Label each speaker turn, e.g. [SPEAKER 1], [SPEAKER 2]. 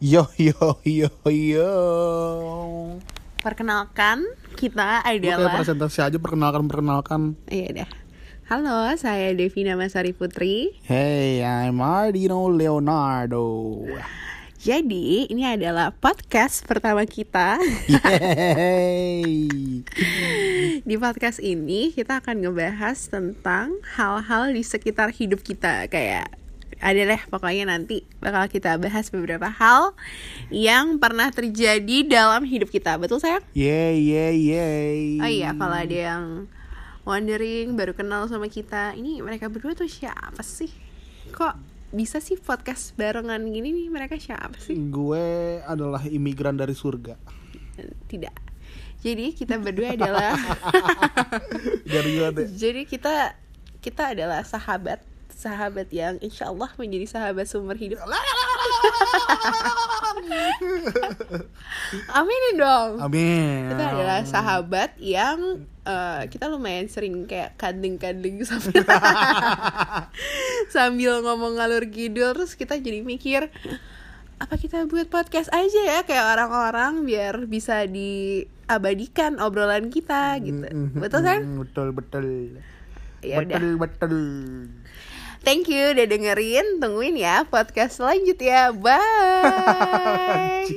[SPEAKER 1] Yo yo yo yo.
[SPEAKER 2] Perkenalkan, kita
[SPEAKER 1] Lu kayak
[SPEAKER 2] adalah
[SPEAKER 1] presentasi aja perkenalkan perkenalkan.
[SPEAKER 2] Iya dah. Halo, saya Devina Masari Putri.
[SPEAKER 1] Hey, I'm Ardino Leonardo.
[SPEAKER 2] Jadi, ini adalah podcast pertama kita.
[SPEAKER 1] Yeay.
[SPEAKER 2] Di podcast ini kita akan ngebahas tentang hal-hal di sekitar hidup kita kayak ada deh pokoknya nanti bakal kita bahas beberapa hal yang pernah terjadi dalam hidup kita. Betul sayang?
[SPEAKER 1] Yeay yeay yeay.
[SPEAKER 2] Oh iya, kalau ada yang wondering baru kenal sama kita, ini mereka berdua tuh siapa sih? Kok bisa sih podcast barengan gini nih mereka siapa sih?
[SPEAKER 1] Gue adalah imigran dari surga.
[SPEAKER 2] Tidak. Jadi kita berdua adalah
[SPEAKER 1] Dari gue deh.
[SPEAKER 2] Jadi kita kita adalah sahabat sahabat yang insya Allah menjadi sahabat sumber hidup. Aminin dong.
[SPEAKER 1] Amin.
[SPEAKER 2] Kita adalah sahabat yang eh, kita lumayan sering kayak kandeng-kandeng sambil sambil ngomong ngalur kidul terus kita jadi mikir apa kita buat podcast aja ya kayak orang-orang biar bisa diabadikan obrolan kita
[SPEAKER 1] Hmm,
[SPEAKER 2] gitu. Betul kan?
[SPEAKER 1] Mm, Mm-hmm. Betul betul.
[SPEAKER 2] Ya udah.
[SPEAKER 1] betul betul.
[SPEAKER 2] Thank you udah dengerin. Tungguin ya podcast selanjutnya. Bye.